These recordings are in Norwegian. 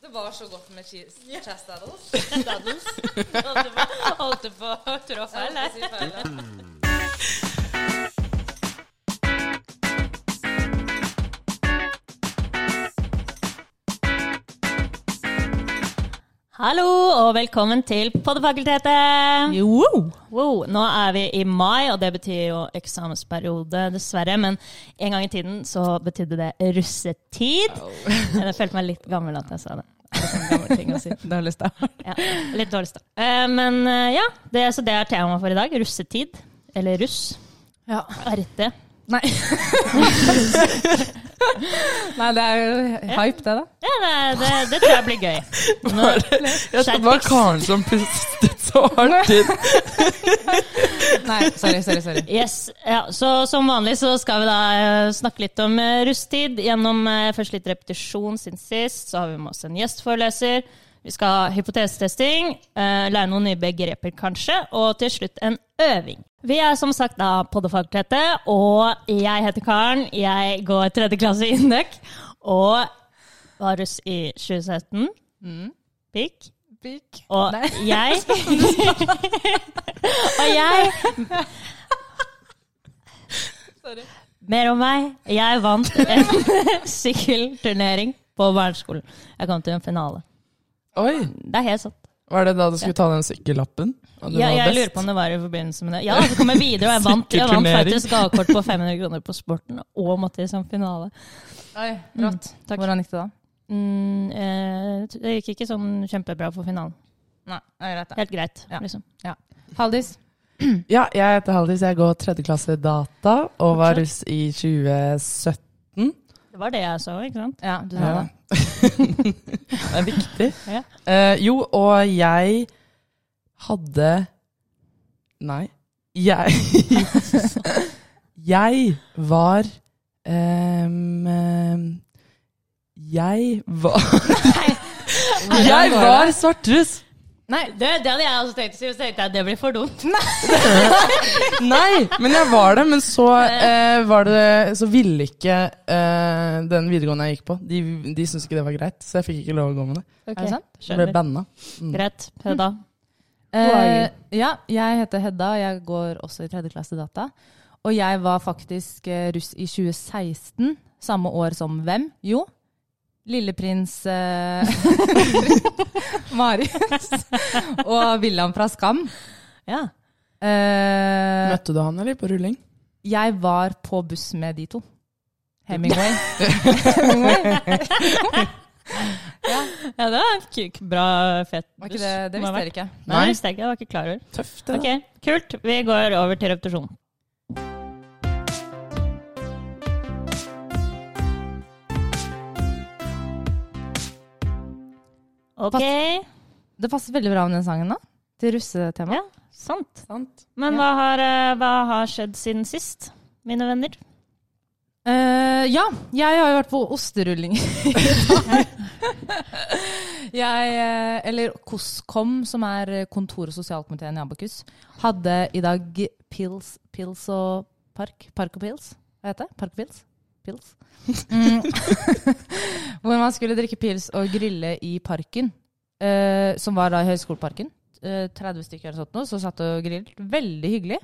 Det var så godt med cheese chest saddles. Daddles. Holdt på- Holdt du på å trå feil Jeg holdt på å der? si feil, ja. Hallo og velkommen til Poddefakultetet! Wow, nå er vi i mai, og det betyr jo eksamensperiode, dessverre. Men en gang i tiden så betydde det russetid. Jeg følte meg litt gammel at jeg sa det. Det er en gammel ting å si. Dårlig start. Ja, litt dårlig start. Eh, Men eh, ja, det, så det er temaet for i dag. Russetid. Eller russ. Ja. RT. Nei. Nei, det er jo hype, det, da. Ja, det, det, det tror jeg blir gøy. Nå, Det var karen som pustet så hardt inn. Nei, sorry, sorry. sorry. Yes, ja, så Som vanlig så skal vi da eh, snakke litt om eh, rusttid. Gjennom eh, først litt repetisjon siden sist. Så har vi med oss en gjestforeleser. Vi skal ha hypotesetesting, eh, lære noen nye begreper kanskje, og til slutt en øving. Vi er som sagt da Poddefagtetet, og jeg heter Karen. Jeg går tredje klasse i Indøk, og var russ i 2017. Pikk. Pikk. Og Nei. jeg Og jeg Mer om meg. Jeg vant en sykkelturnering på barneskolen. Jeg kom til en finale. Oi, Det er helt sant. var det da du skulle ta den sykkellappen? Og du Ja, var jeg best? lurer på om det var i forbindelse med det. Ja, så kom jeg videre, og jeg vant, jeg vant Sykkelturnering. faktisk gavekort på 500 kroner på sporten og måtte i sånn finale. Oi, rått. takk. Hvordan gikk det da? Mm, eh, det gikk ikke sånn kjempebra for finalen. Nei, det er greit, da. Helt greit, Ja. liksom. Haldis. Ja, jeg heter Haldis, jeg går tredje klasse data og var russ i 2017. Det var det jeg så, ikke sant? Ja, du sa Ja. det. det er viktig. Ja. Eh, jo, og jeg hadde Nei. Jeg Jeg var em, em, Jeg var Jeg var svartruss! Nei, det, det hadde jeg også tenkt å si, og så tenkte jeg det blir for dumt. Nei, men jeg var det. Men så eh, var det Så ville ikke eh, den videregående jeg gikk på, de, de syntes ikke det var greit. Så jeg fikk ikke lov å gå med det. Er det sant? Jeg ble Skjønner. banna. Greit, Hedda. Eh, ja, jeg heter Hedda, og jeg går også i tredje klasse data. Og jeg var faktisk eh, russ i 2016, samme år som hvem? Jo, Lilleprins eh, Marius og William fra Skam. Ja. Eh, Møtte du han, eller? På rulling? jeg var på buss med de to. Hemingway. Hemingway. ja, det var en kuk, bra, fett Var ikke det, det visste dere ikke. Nei, det visste jeg ikke. Jeg var ikke klar over. Tøft, det. Ok, kult. Vi går over til repetisjon. Ok, Det passer veldig bra med den sangen da, til russetema. ja, sant. Sant. Men Ja. hva, har, eh, hva har skjedd siden sist, mine venner? Eh, ja, jeg har jo vært på osterulling. jeg, eh, eller KOSKOM, som er kontor- og sosialkomiteen i Abakus, hadde i dag pils, pils og park. Park og pils, hva heter det? Park og pils? Pils. Mm. Hvor man skulle drikke pils og grille i parken, eh, som var da i Høgskoleparken. Eh, 30 stykker eller sånt noe, så satt og grillet. Veldig hyggelig.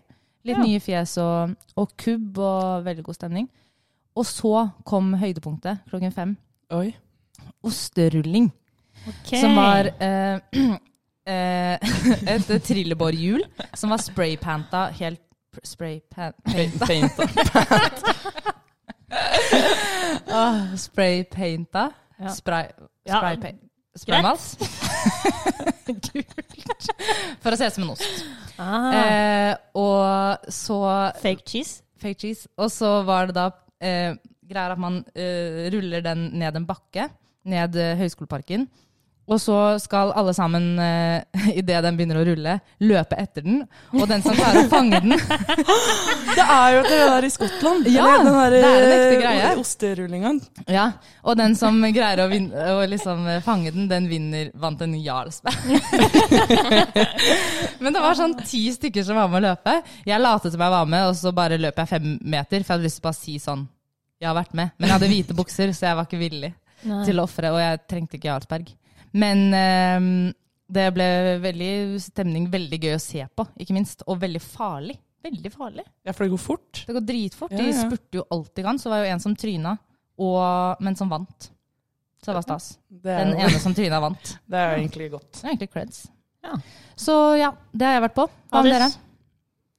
Litt Ja. nye fjes og, og kubb og veldig god stemning. Og så kom høydepunktet klokken fem. Oi. Osterulling. Ok. Som var eh, eh, et trillebårhjul som var spraypanta helt Spraypanta Painta. Åh, Spraypainta. Ja. Spray, Ja, spraypa- Spraymalt. Kult. For å se ut som en ost. ah, Eh, og så Fake cheese? fake cheese. Og så var det da eh, greier at man eh, ruller den ned en bakke, ned eh, Høgskoleparken. Og så skal alle sammen, eh, idet den begynner å rulle, løpe etter den. Og den som klarer å fange den Det er jo det der i Skottland. Ja, Eller den eh, der, det er en ekte greie. Osterullinga. Ja, Og den som greier å, vin å liksom eh, fange den, den vinner, vant en Jarlsberg. Men det var sånn ti stykker som var med å løpe. Jeg latet som jeg var med, og så bare løp jeg fem meter, for jeg hadde lyst til å bare si sånn Jeg har vært med. Men jeg hadde hvite bukser, så jeg var ikke villig. Nei. til å ofre, og jeg trengte ikke Jarlsberg. Men eh, det ble veldig stemning, veldig gøy å se på, ikke minst. Og veldig farlig. Veldig farlig. Ja, for det går fort. Det går dritfort. Ja, De ja. spurte jo alt de kan. Så var det jo en som tryna, og, men som vant. Så det var stas. Det er, Den jo, ene som tryna, vant. det er jo egentlig godt. Det er egentlig creds. Ja. Så ja, det har jeg vært på. Hva med dere? Alice,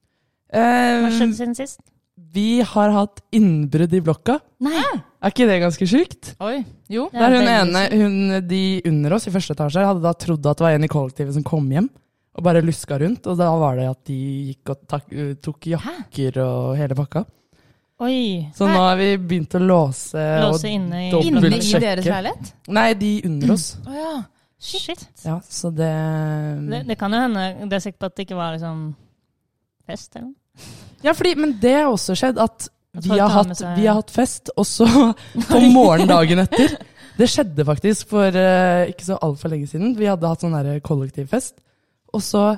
hva Mm. Eh, skjedde siden sist? vi har hatt innbrudd i blokka. Ah. Nei. Er ikke det ganske sjukt? Oi. Jo. Det Der er veldig hun ene, hun, de under oss i første etasje her, hadde da trodd at det var en i kollektivet som kom hjem. Og bare luska rundt, og da var det at de gikk og tak, eh, tok jakker og hele pakka. Oi. Så nå har vi begynt å låse, Låse inne i dobbelt- Inne i sjekke. deres leilighet? og Nei, de under oss. Å ja. Shit. Ja, så det Det, det kan jo hende Det er sikkert på at det ikke var liksom fest, eller noe. Ja, fordi, men det har også skjedd at At vi folk har, tar med hatt, seg- vi har hatt fest, og så på morgenen dagen etter Det skjedde faktisk for eh, ikke så altfor lenge siden. Vi hadde hatt sånn her kollektivfest. Og så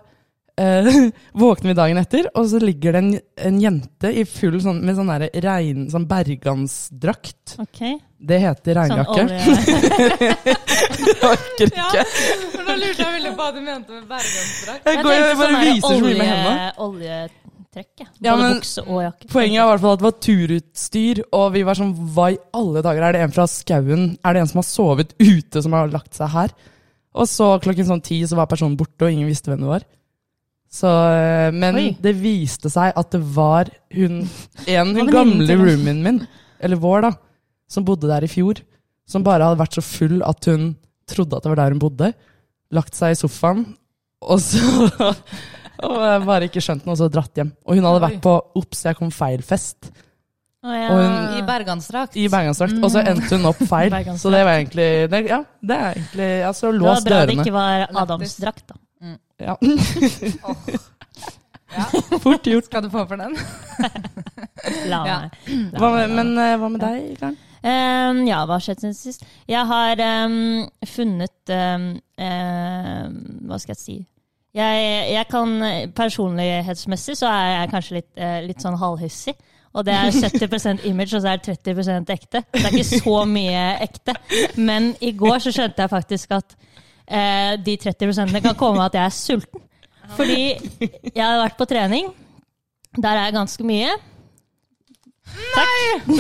eh, våkner vi dagen etter, og så ligger det en, en jente i full sånn, med sånn, her regn, sånn bergansdrakt. Ok. Det heter Sånn regnjakke. olje... Jeg orker ikke. Nå lurte jeg veldig på hva du mente med bergansdrakt. Jeg, går, jeg sånn bare viser så mye med hendene. Oljetrekk, ja. Både Ja, men bukse og jakke. Poenget er i hvert fall at det var turutstyr, og vi var sånn Hva i alle dager? Er det en fra skauen? Er det en som har sovet ute, som har lagt seg her? Og så klokken sånn ti så var personen borte, og ingen visste hvem det var. Så, eh, men Oi. det viste seg at det var hun En venninnen hun gamle til deg. roomien min, eller vår, da, som bodde der i fjor, som bare hadde vært så full at hun trodde at det var der hun bodde, lagt seg i sofaen, og så Og jeg bare ikke skjønt noe, og så dratt hjem. Og hun hadde vært på Ops, jeg kom feil-fest Å, ja. Og hun- I bergansdrakt. i Bergansdrakt, Mm. og så endte hun opp feil. Bergansdrakt. så det var egentlig det, Ja, det er egentlig Altså, det var bra lås det dørene. ikke var Adamsdrakt, da. Ja. Ja. Fort gjort. Skal du få for den? La Ja. meg. Hva med, men eh, hva med deg, Karen? Ehm, ja, hva har skjedd siden sist? Jeg har ehm, funnet ehm, ehm, Hva skal jeg si? Jeg, jeg kan Personlighetsmessig så er jeg kanskje litt, eh, litt sånn halvhissig. Og det er 70 image, og så er det 30 ekte. Det er ikke så mye ekte. Men i går så skjønte jeg faktisk at eh, de 30 kan komme av at jeg er sulten. Fordi jeg har vært på trening. Der er jeg ganske mye. I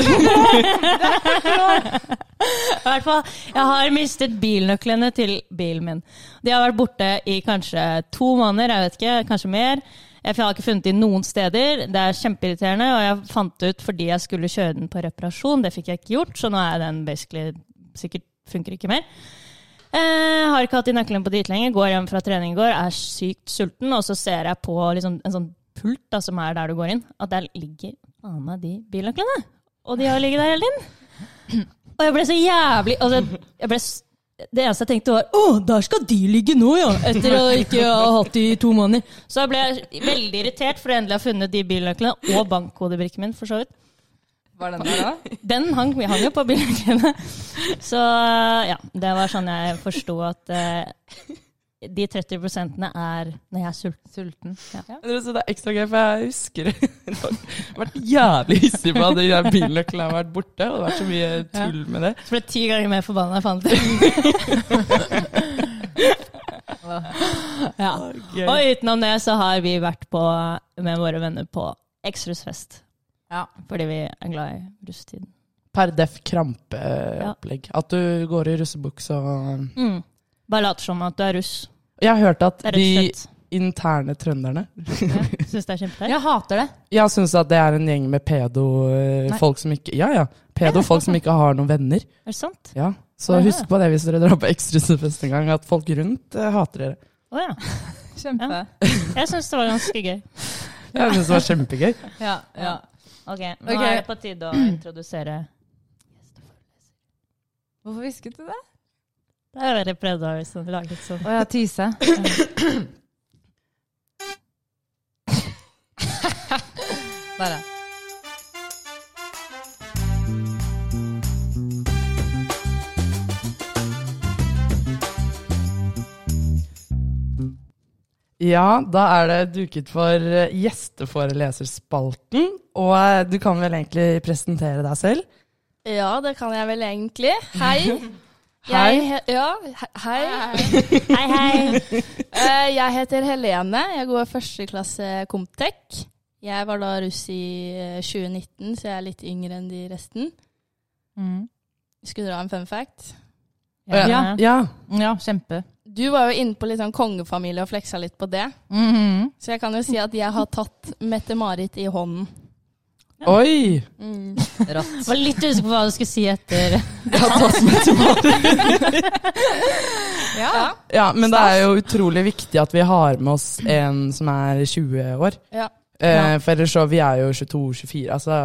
hvert fall, jeg har mistet bilnøklene til bilen min. De har vært borte i kanskje to måneder, jeg vet ikke, kanskje mer. Jeg har ikke funnet dem noen steder. Det er kjempeirriterende, og jeg fant det ut fordi jeg skulle kjøre den på reparasjon. Det fikk jeg ikke gjort, så nå er den basically sikkert funker ikke mer. Eh, har ikke hatt de nøklene på dritlenge. Går hjem fra trening i går, er sykt sulten, og så ser jeg på liksom, en sånn pult da, som er der du går inn, at der ligger faen meg de bilnøklene. Og de har ligget der hele tiden. Og jeg ble så jævlig altså, jeg ble, s- Det eneste jeg tenkte var Å, der skal de ligge nå, ja! Etter å ikke ha hatt de i to måneder. Så jeg ble veldig irritert for å endelig ha funnet de bilnøklene og bankkodebrikken min. for så vidt. Var den der, da? Den hang, vi hang jo på bilnøklene. Så ja, det var sånn jeg forsto at eh, de 30 er når jeg er sulten. Sulten. Ja. Jeg tror også Det er ekstra gøy, for jeg husker det. har vært jævlig hissig på at de der bilnøklene har vært borte. Og det har vært så mye tull med det. Så ble jeg ti ganger mer forbanna jeg fant det. ja. Gøy. Og utenom det så har vi vært på, med våre venner på Eksrusfest. Ja. Fordi vi er glad i russetiden. Per def krampeopplegg. At du går i russebukse og Mm. Bare later som at du er russ. Jeg har hørt at Det er rett og de slett. interne trønderne Syns det er kjempeteit. Jeg hater det. Jeg syns at det er en gjeng med Nei. pedo-folk som ikke Ja, ja. Pedo-folk som ikke har noen venner. Er det sant? Ja. Så Ja, ja. husk på det hvis dere drar på ekstrasefest en gang, at folk rundt eh, hater dere. Å ja. Kjempe. Jeg syns det var ganske gøy. Jeg syns det var kjempegøy. Ja, ja. Ok, Nå Ok. er det på tide å introdusere Hvorfor hvisket du det? Det er jo dere prøvde å liksom lage litt sånn Å ja, tise. Der, ja. Ja, da er det duket for eh, gjesteforeleserspalten. Og eh, du kan vel egentlig presentere deg selv? Ja, det kan jeg vel egentlig. Hei. Hei. Jeg, he- ja, he- hei. Hei, hei. Eh, Jeg heter Helene. Jeg går første klasse Comtec. Jeg var da russ i eh, 2019, så jeg er litt yngre enn de resten. Skulle dra en fun fact. Å, Ja. ja. ja. Ja, kjempe. Du var jo inne på litt sånn kongefamilie og fleksa litt på det. Mhm. Så jeg kan jo si at jeg har tatt Mette-Marit i hånden. Oi! Mm. Var litt usikker på hva du skulle si etter. Ja. Ja, men det er jo utrolig viktig at vi har med oss en som er 20 år. Ja. Eh, for ellers så, vi er jo 22-24, altså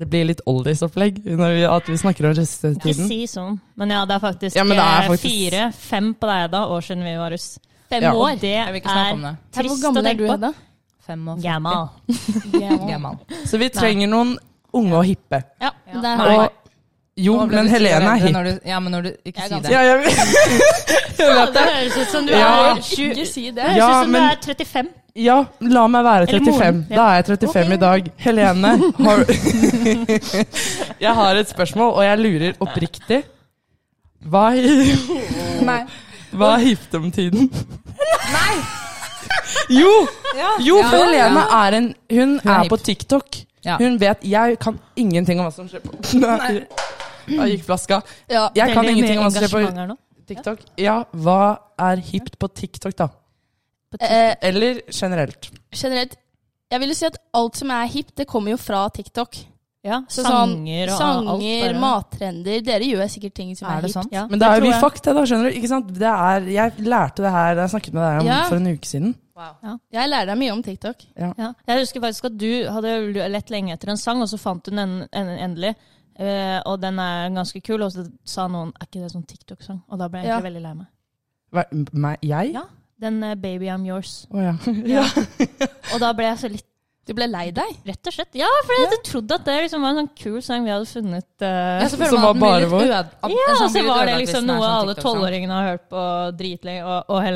Det blir litt oldies-opplegg når vi, at vi snakker om Ikke restetiden. si sånn. Men ja, det er faktisk, Ja, men det er eh, faktisk- fire-fem på deg da, år siden vi var russ. Fem Ja. Og det Jeg vil er ikke snakke om det. Hvor trist å gammel er du, tenke på. Hedda? Fem og Gammal. Gammal. Så vi trenger noen unge og hippe. Ja, der har Og, jeg. jo, Nå ble men du Helene er surere hipp. når du- Ja, men når du ikke Jeg er si det. ganske- Ja, jeg, jeg vet det. Det høres ut som du Ja. er Ikke si det. Det høres Ja, ut som men- du er 35. Ja, la meg være Eller moren, 35. ja. Da er jeg 35 i dag. Helene, har Jeg har et spørsmål, og jeg lurer oppriktig. Hva, Nei. hva er hipt om tiden? Nei! Jo! Jo, for Ja. Helene er en Hun er hipp. på TikTok. Ja. Hun vet Jeg kan ingenting om hva som skjer på Nei. Da gikk flaska. Ja. Jeg kan Veldig ingenting mye om hva som skjer engasjement på her nå. TikTok. Ja, hva er hipt på TikTok, da? Eh, Eller generelt? generelt, jeg vil jo si at alt som er hipt, det kommer jo fra TikTok. Ja, Så sanger og sånn, alt. sanger, bare. mattrender. Dere gjør sikkert ting som Er er, det hipt. sant? Ja, Men da det er jo tror vi jeg. fucked, da, skjønner du. Ikke sant? Det er, jeg lærte det her da jeg snakket med deg om, Ja. for en uke siden. Jeg lærer deg mye om TikTok. Ja. Jeg husker faktisk at du hadde lett lenge etter en sang, og så fant du den en, en, endelig. Eh, og den er ganske kul, og så sa noen Er ikke det sånn TikTok-sang? Og da ble jeg Ja. egentlig veldig lei meg. Hva, meg, jeg? Ja. Den eh, 'Baby I'm Yours'. Å, ja. Og da ble jeg så litt Du ble lei deg. Rett og slett. Ja, for jeg trodde at det liksom var en sånn kul sang vi hadde funnet. eh, Ja, så føler Som man at var den blir bare litt vår. øde- at en ja, sang og så blir litt var det ødelagt hvis liksom den er noe sånn alle TikTok-sang. tolvåringene har hørt på dritlenge, og, og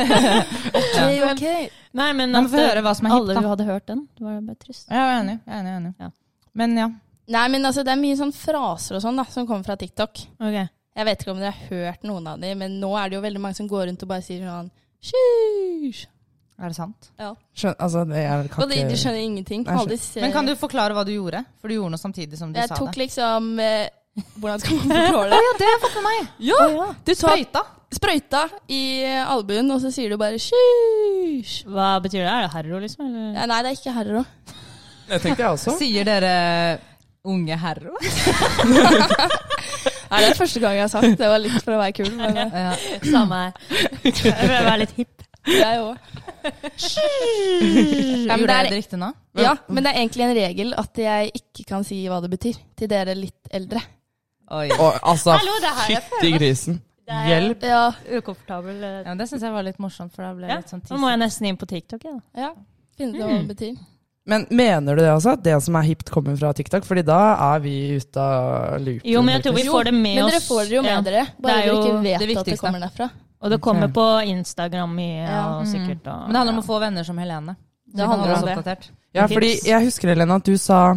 Helene. Okay, Nei, men Nei, at men eh, Få høre hva som er hipt, alle da. hadde hørt den, det var bare trist. Ja, jeg er enig. Jeg er enig, jeg er enig. Ja. Men ja. Nei, men altså, det er mye sånn fraser og sånn da, som kommer fra TikTok. Ok. Jeg vet ikke om dere har hørt noen av dem, men nå er det jo veldig mange som går rundt og bare sier sånn Sheesh. Er det sant? Skjøn, altså, det er, Og kan de, de ikke skjønner ingenting. Nei, skjønner. Aldri ser- Men kan du forklare hva du gjorde? For du gjorde noe samtidig som du Jeg sa tok det. liksom eh, Hvordan skal man forklare det? Ja, det har jeg fått med meg! Ja, Du tar Sprøyta. sprøyta i eh, albuen, og så sier du bare Sheesh. Hva betyr det? Er det herro, liksom? Eller? Ja, nei, det er ikke herrer òg. Det tenkte jeg også. Sier dere unge herrer? Nei, det er første gang jeg har sagt det. Det var litt for å være kul. Men eh, Ja. Samme her. Jeg prøver å være litt hipp. jeg òg. Ja, Gjorde men det jeg er- det riktig nå? Ja, men det er egentlig en regel at jeg ikke kan si hva det betyr til dere litt eldre. Oi. Og, altså, Hallo, det her er fytti grisen. Hjelp. Ja, Ukomfortabel. Ja, men det syns jeg var litt morsomt, for da ble jeg Ja, litt sånn nå må jeg nesten inn på TikTok, jeg. da. ja. Finne ut Hmm. hva det betyr. Men mener du det også, at det som er hipt, kommer fra TikTok? Fordi da er vi ute av loopen. Jo, men jeg tror vi Jo, får det med Men oss. dere får det jo med Ja. dere. Bare Det er dere jo ikke vet det at det viktigste. kommer derfra. Og det kommer på Instagram mye, Ja. og sikkert. Og, Men det handler om å få venner som Helene. Det handler om oss det. oppdatert. Ja, fordi jeg husker, Helena, at du sa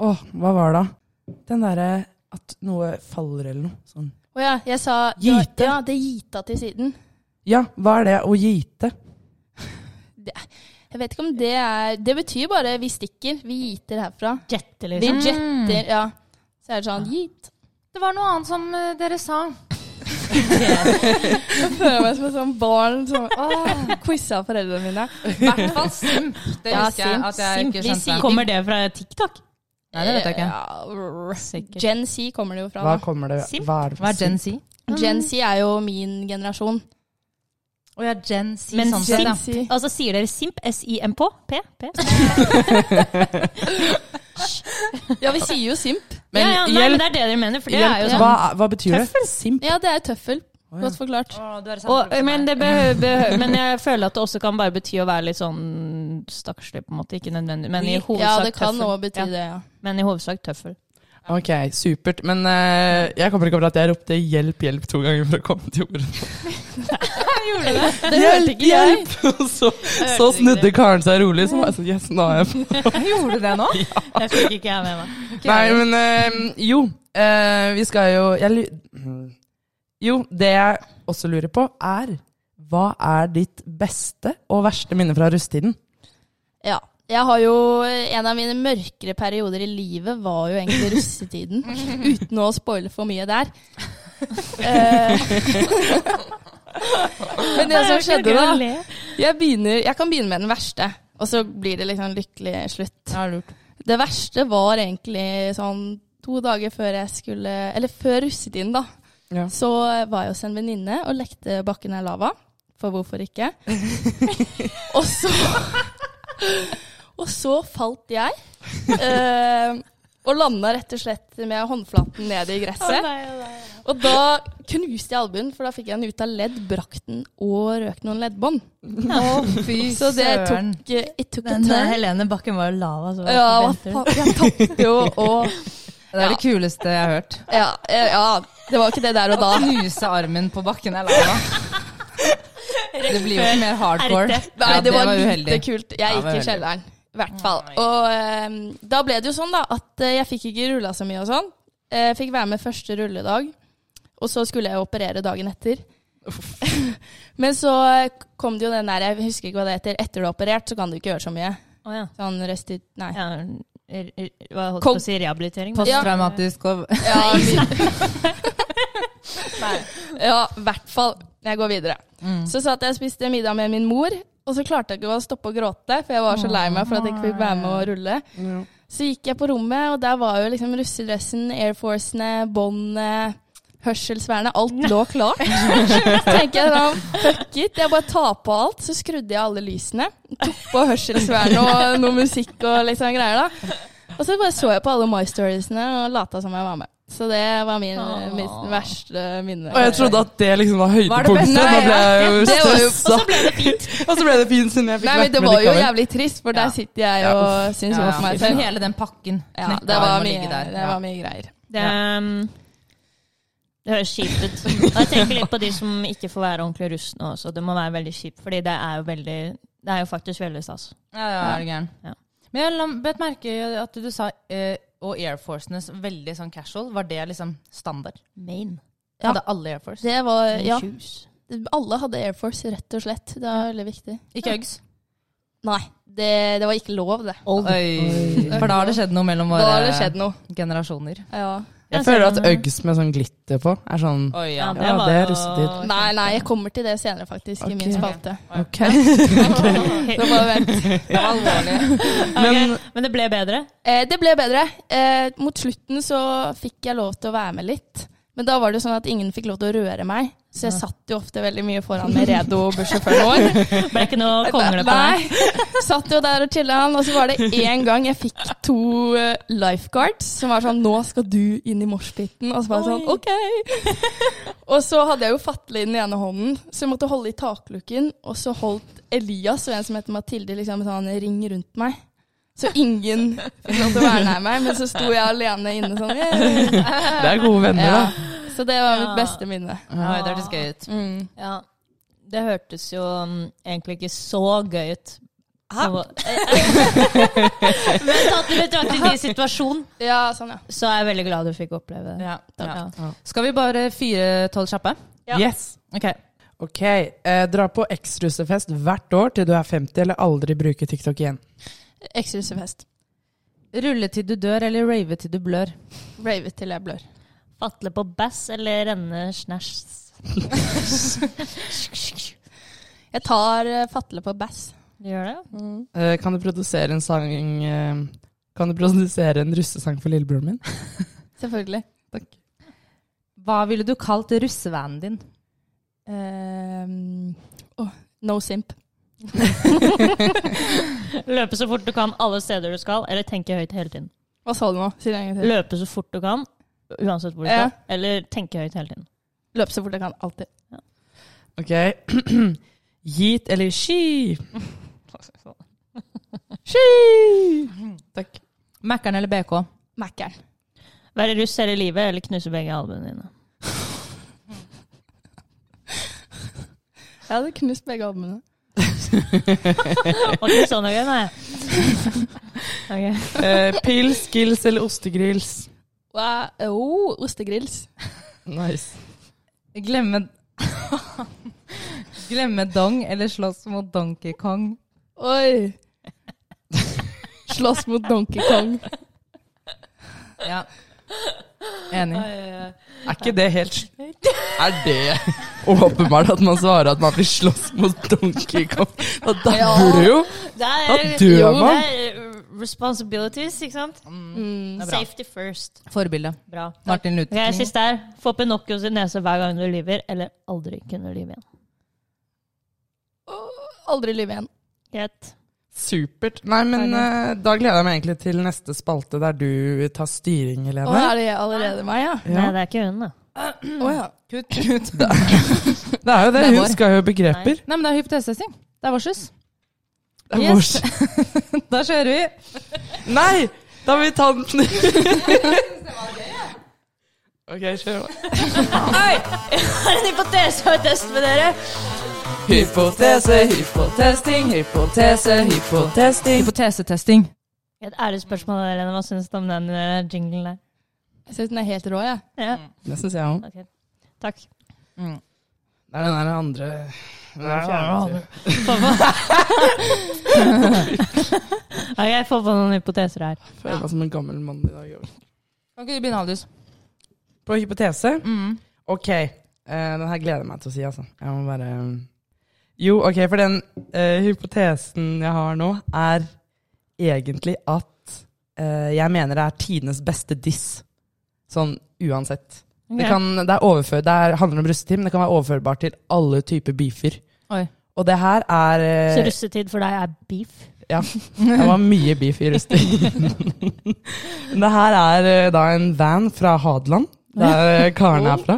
Å, hva var det da? Den derre at noe faller eller noe sånn. Å ja, jeg sa Gite. Ja, det gita til siden. Ja, hva er det? Å gite? Jeg vet ikke om det er Det betyr bare vi stikker. Vi giter herfra. jette, Vi liksom. jetter, ja. Så er det Ah. sånn git. Det var noe annet som eh, dere sa. Jeg føler meg som et sånt barn som quiza foreldrene mine. I hvert fall simp. Det Ja, husker jeg simp, at jeg simp. ikke Vi skjønte. sier- Kommer det fra TikTok? Nei, det vet jeg ikke. Ja, Sikkert. Gen Z kommer det jo fra. Hva da. kommer det Simp? Hva er det Hva er Gen simp? Z? Gen Z er jo min generasjon. Å ja, Gen Z. Men sånn simp- sett, ja. Z. Altså, sier dere simp? S-I-M-P? P? P? Ja, vi sier jo simp. Men, ja, ja, nei, hjelp. men det er det dere mener, for det er jo sånn- Hjelp, Altså, hva, hva betyr det? Simp? Ja, det er tøffel. Godt forklart. Å, du er samme Og, gruppe som men, meg. det behø- behø- men jeg føler at det også kan bare bety å være litt sånn stakkarslig, på en måte. Ikke nødvendig, men i hovedsak Ja, det kan tøffel. òg bety Ja, det, ja. Men i hovedsak tøffel. Ok, supert. Men eh, jeg kommer ikke over at jeg ropte 'hjelp, hjelp' to ganger for å komme til ordet. Gjorde du det? Det hørte Hjelp, ikke jeg. hjelp! Og så, så snudde Karen seg rolig, så var jeg sånn Yes, nå er jeg på. Gjorde du det nå? Det fikk ikke jeg med meg. Nei, men eh, jo. eh, vi skal jo jeg, lu- Jo, det jeg også lurer på, er hva er ditt beste og verste minne fra rusttiden? Ja. Jeg har jo, En av mine mørkere perioder i livet var jo egentlig russetiden. Uten å spoile for mye der. Eh, Men det som skjedde, da jeg, begynner, jeg kan begynne med den verste, og så blir det liksom lykkelig slutt. Ja, lurt. Det verste var egentlig sånn to dager før jeg skulle Eller før russetiden, da. Ja. Så var jeg hos en venninne og lekte bakken er lava. For hvorfor ikke? og så Og så falt jeg. eh, og landa rett og slett med håndflaten ned i gresset. Og da knuste jeg albuen, for da fikk jeg den ut av ledd, brakk den og røk noen leddbånd. Fy Så det søren. tok, eh, it took a Men eh, turn. Helene Bakken var jo lava, så Ja, hva venter du? faen. Jeg tapte jo og Det er det kuleste jeg har hørt. ja, eh, ja, det var ikke det der og da. Knuse armen på bakken er lava. Det blir jo ikke mer hardcore. RT. Nei, Ja, det, var, lite uheldig. kult. Ja, Jeg det var uheldig. gikk i kjelleren. I hvert fall. Og eh, da ble det jo sånn da, at eh, jeg fikk ikke rulla så mye og sånn. Eh, Jeg fikk være med første rulledag, og så skulle jeg operere dagen etter. Men så eh, kom det jo den der, jeg husker ikke hva det heter, etter du er operert, så kan du ikke gjøre så mye. Å, ja. Sånn restit... Nei. Ja, r- r- Hva holdt Kom- på å si? Rehabilitering? men- Posttraumatisk og Ja, vi- ja, i hvert fall. Jeg går videre. Mm. Så satt jeg og spiste middag med min mor, og så klarte jeg ikke å stoppe å gråte, for jeg var så lei meg for at jeg ikke fikk være med å rulle. Så gikk jeg på rommet, og der var jo liksom russedressen, Air Forcene, båndene, hørselsvernet, alt lå klart. Så tenker jeg sånn, fuck it, jeg bare tar på alt. Så skrudde jeg alle lysene, tok på hørselsvernet og noe musikk og liksom greier da. Og så bare så jeg på alle My Storiesene og lata som jeg var med. Så det var min, mitt verste minne. Og jeg trodde at det liksom var Var det beste? høydepunktet. Nå ble jeg jo Det var jo- stressa. Og så ble det fint, siden jeg fikk Nei, men vært det med var jo likevel. jævlig trist, for der Ja. sitter jeg Ja, og syns Ja, over meg selv. Hele den pakken. Ja, Knekkearm det var og ligge mye, der. det var mye greier. Det, um, det høres kjipt ut. Og jeg tenker litt på de som ikke får være ordentlig russ nå også. Det må være veldig kjipt, fordi det er jo veldig det er jo faktisk veldig stas. Ja, ja, er du gæren. Ja. Men jeg la- bet merke i at du, du sa eh, og Air Forcene så veldig sånn casual. Var det liksom standard? Maine. Ja. Hadde alle Air Force? Det var, Eh, ja, Shoes. alle hadde Air Force, rett og slett. Det var veldig viktig. Ikke Uggs? Nei, det, det var ikke lov, det. Old. Oi. For da har det skjedd noe mellom Da har det våre skjedd noe. generasjoner. Ja. Jeg føler at Uggs med sånn glitter på er sånn Oi, Ja, ja. det Ja, var det er jo- russetid. Nei, nei, jeg kommer til det senere, faktisk, i Ok. min spalte. Ok. Så bare vent. Det var alvorlig. Men, men det ble bedre. Eh, det ble bedre. Eh, mot slutten så fikk jeg lov til å være med litt. Men da var det jo sånn at ingen fikk lov til å røre meg. Så jeg satt jo ofte veldig mye foran med Redo bussjåføren vår. Det ble ikke noe kongle på deg. Nei. Satt jo der og chilla han. Og så var det én gang jeg fikk to eh, lifeguards som var sånn Nå skal du inn i moshpiten. Og så var jeg sånn OK. Og så hadde jeg jo fatle i den ene hånden, så jeg måtte holde i taklukken. Og så holdt Elias og en som heter Mathilde, liksom en sånn ring rundt meg. Så ingen fikk lov til å være nær meg, men så sto jeg alene inne sånn. eh. Det er gode venner, Ja. da. Så det var mitt Ja. beste minne. Oi, det hørtes gøy ut. Mm. Ja. Det hørtes jo um, egentlig ikke så gøy ut. Hæ? Men tatt i betraktning din situasjon, Ja, sånn, ja. så er jeg veldig glad du fikk oppleve det. Ja, ja. Ja. Skal vi bare fire tolv kjappe? Ja. Yes. Ok. Ok, eh, dra på ekstrussefest hvert år til du er 50 eller aldri bruke TikTok igjen. Ekstrusefest. Rulle til du dør, eller rave til du blør? Rave til jeg blør. Fatle på bass eller renne snæsj. Jeg tar eh, fatle på bass. Du gjør det? Mm. Eh, kan du produsere en sang eh, Kan du produsere en russesang for lillebroren min? Selvfølgelig. Takk. Hva ville du kalt russevanen din? Ehm, åh, no simp. Løpe så fort du kan alle steder du skal, eller tenke høyt hele tiden. Hva sa du nå? Si det en gang til. Løpe så fort du kan, uansett hvor du Ja. skal, eller tenke høyt hele tiden. Løp så fort jeg kan. Alltid. Ok. Yeet eller ski? Takk. Mækkern eller BK? Mækkern. Være russ hele livet eller knuse begge albuene dine. Jeg hadde knust begge albuene. Var ikke sånn noe, nei. Ok. Eh, pils, gills eller ostegrills? Wow. Oh, ostegrills. Nice. Glemme Glemme dong eller slåss mot Donkey Kong. Oi! Slåss mot Donkey Kong. Ja. Enig. Er ikke det helt sl- Er det åpenbart at man svarer at man vil slåss mot Donkey Kong? Da dauer du jo! Da Da dør man. det er eh, responsibilities, ikke sant? Mm. Safety first. Forbilde. Bra. Martin Luther Ok, Siste her. Få Pinocchios i nese hver gang du lyver, eller aldri kunne lyve igjen. Aldri lyve igjen. Greit. Supert. Nei, men eh, da gleder jeg meg egentlig til neste spalte der du tar styring, Å, Helene. er det allerede meg, ja? Nei, Ja, det er ikke hun, da. Å ja. Kutt, kutt. det er jo det. Det er vår. Hun skal jo begreper. Nei, men det er hypotesetesting. Det er vårsys. Det er Yes. vår- Da kjører vi. Nei! Da vil vi ta den. OK, kjør. Har en hypotese og test med dere. Hypotese, hypotesting, hypotese, hypotesting. Hypotesetesting. Et ærespørsmål, Helene. Hva syns du om den eh, jinglen der? Jeg syns den er helt rå, jeg. Ja, Det syns jeg òg. ok. Takk. Mm. Det er den der andre den der fjerde. Ok, jeg får på noen hypoteser her. Jeg Føler meg som en gammel mann i dag. også. Kan ikke du begynne, Aldus? På hypotese? Mm. Ok. eh, den her gleder jeg meg til å si, altså. Jeg må bare Jo, ok, for den eh, hypotesen jeg har nå, er egentlig at eh, jeg mener det er tidenes beste diss. Sånn uansett. Det, kan, det, er overfør, det er, handler om russetid, men det kan være overførbart til alle typer beefer. Oi. Og det her er eh, Så russetid for deg er beef? Det var mye beef i rusting. det her er eh, da en van fra Hadeland, der eh, Karen er fra.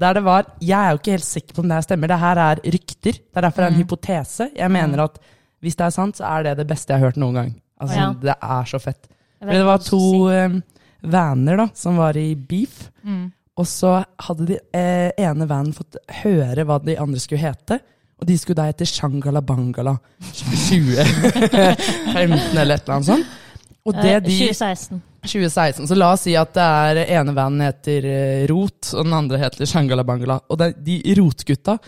Der det var Jeg er jo ikke helt sikker på om det her stemmer. Det her er rykter. Det er derfor det er en hypotese. Jeg mener at hvis det er sant, så er det det beste jeg har hørt noen gang. Altså, Ja. Det er så fett. Jeg vet Fordi det hva var du to skal si. Mm. eh, vaner da, som var i beef. Og så hadde de eh, ene vanen fått høre hva de andre skulle hete. Og de skulle da hete Shangala Bangala 2015 eller et eller annet sånt. Og det Eh, de 2016. 2016, så la oss si at det er ene vanen heter eh, Rot, og den andre heter Shangala Bangala. Og det, de rotgutta,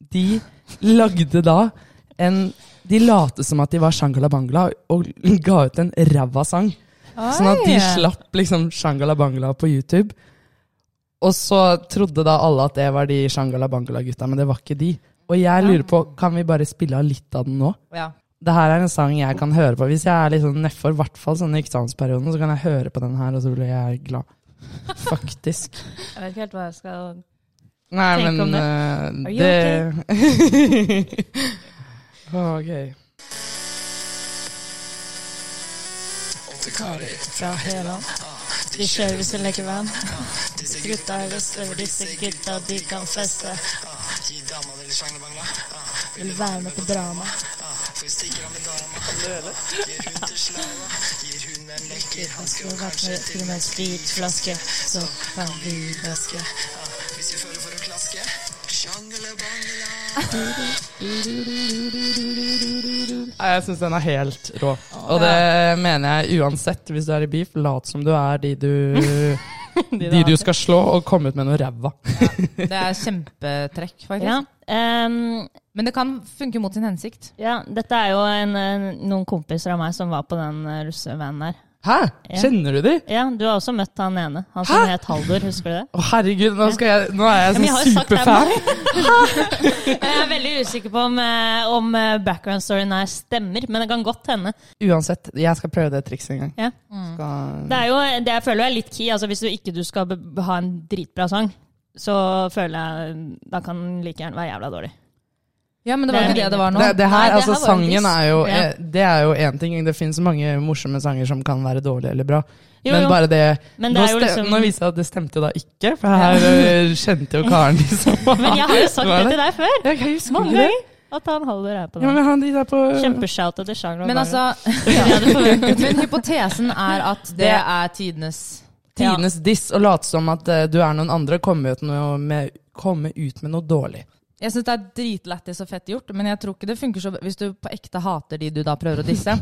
de lagde da en De late som at de var Shangala Bangala, og ga ut en ræva sang. Sånn at de Oi. slapp liksom Shangala Bangala på YouTube. Og så trodde da alle at det var de Shangala Bangala-gutta, men det var ikke de. Og jeg lurer på, kan vi bare spille av litt av den nå? Ja. det her er en sang jeg kan høre på. Hvis jeg er litt sånn nedfor, i hvert fall sånn i eksamensperioden, så kan jeg høre på den her, og så blir jeg glad. Faktisk. Jeg vet ikke helt hva jeg skal Nei, Tenk om men det. eh, Are you det Å, gøy. fra hele De kjører sin lekevenn. Gutta er vestløver, disse gutta de kan feste. Vil være med på drama. Han skulle vært med til og med en spritflaske, så kan vi vaske. Nei, Jeg syns den er helt rå. Og det mener jeg uansett, hvis du er i beef, lat som du er de du, de du skal slå, og komme ut med noe ræva. Det er kjempetrekk, faktisk. Ja, ehm, Men det kan funke mot sin hensikt. ja, dette er jo en, en- noen kompiser av meg som var på den eh, russevennen der. Hæ? Ja. Kjenner du de? Ja, du har også møtt han ene. Han som het Haldor, husker du det? Å, herregud, nå, skal jeg, nå er jeg men jeg har jo sånn sagt det, superfan. Jeg er veldig usikker på om, eh, om eh, background storyen her stemmer, men det kan godt hende. Uansett, jeg skal prøve det trikset en gang. Mm. Ja. Skal... Det er jo det jeg føler er litt key. Altså, hvis du ikke du skal be- ha en dritbra sang, så føler jeg da kan den like gjerne være jævla dårlig. Ja, men Det det var er ikke det min- det var nå. Det, det her, Nei, det altså her var en sangen diss. er jo Ja. eh, Det er jo én ting. Det finnes mange morsomme sanger som kan være dårlige eller bra. Jo, men jo. bare det, Men det nå, er jo ste- liksom- nå viser det at det stemte jo da ikke, for her eh, kjente jo karen de som var Men jeg har jo sagt Hva det er det? til deg før. Jeg husker Mange ikke det. ganger. At han Haldor er på Ja, den. men han de der på eh, Kjempeshout til Sjanglo. Men altså Jeg hadde forventet Men hypotesen er at det er tidenes Tidenes diss å late som at eh, du er noen andre og komme ut, noe med- komme ut med noe dårlig. Jeg syns det er dritlættis og fett gjort, men jeg tror ikke det funker så hvis du på ekte hater de du da prøver å disse.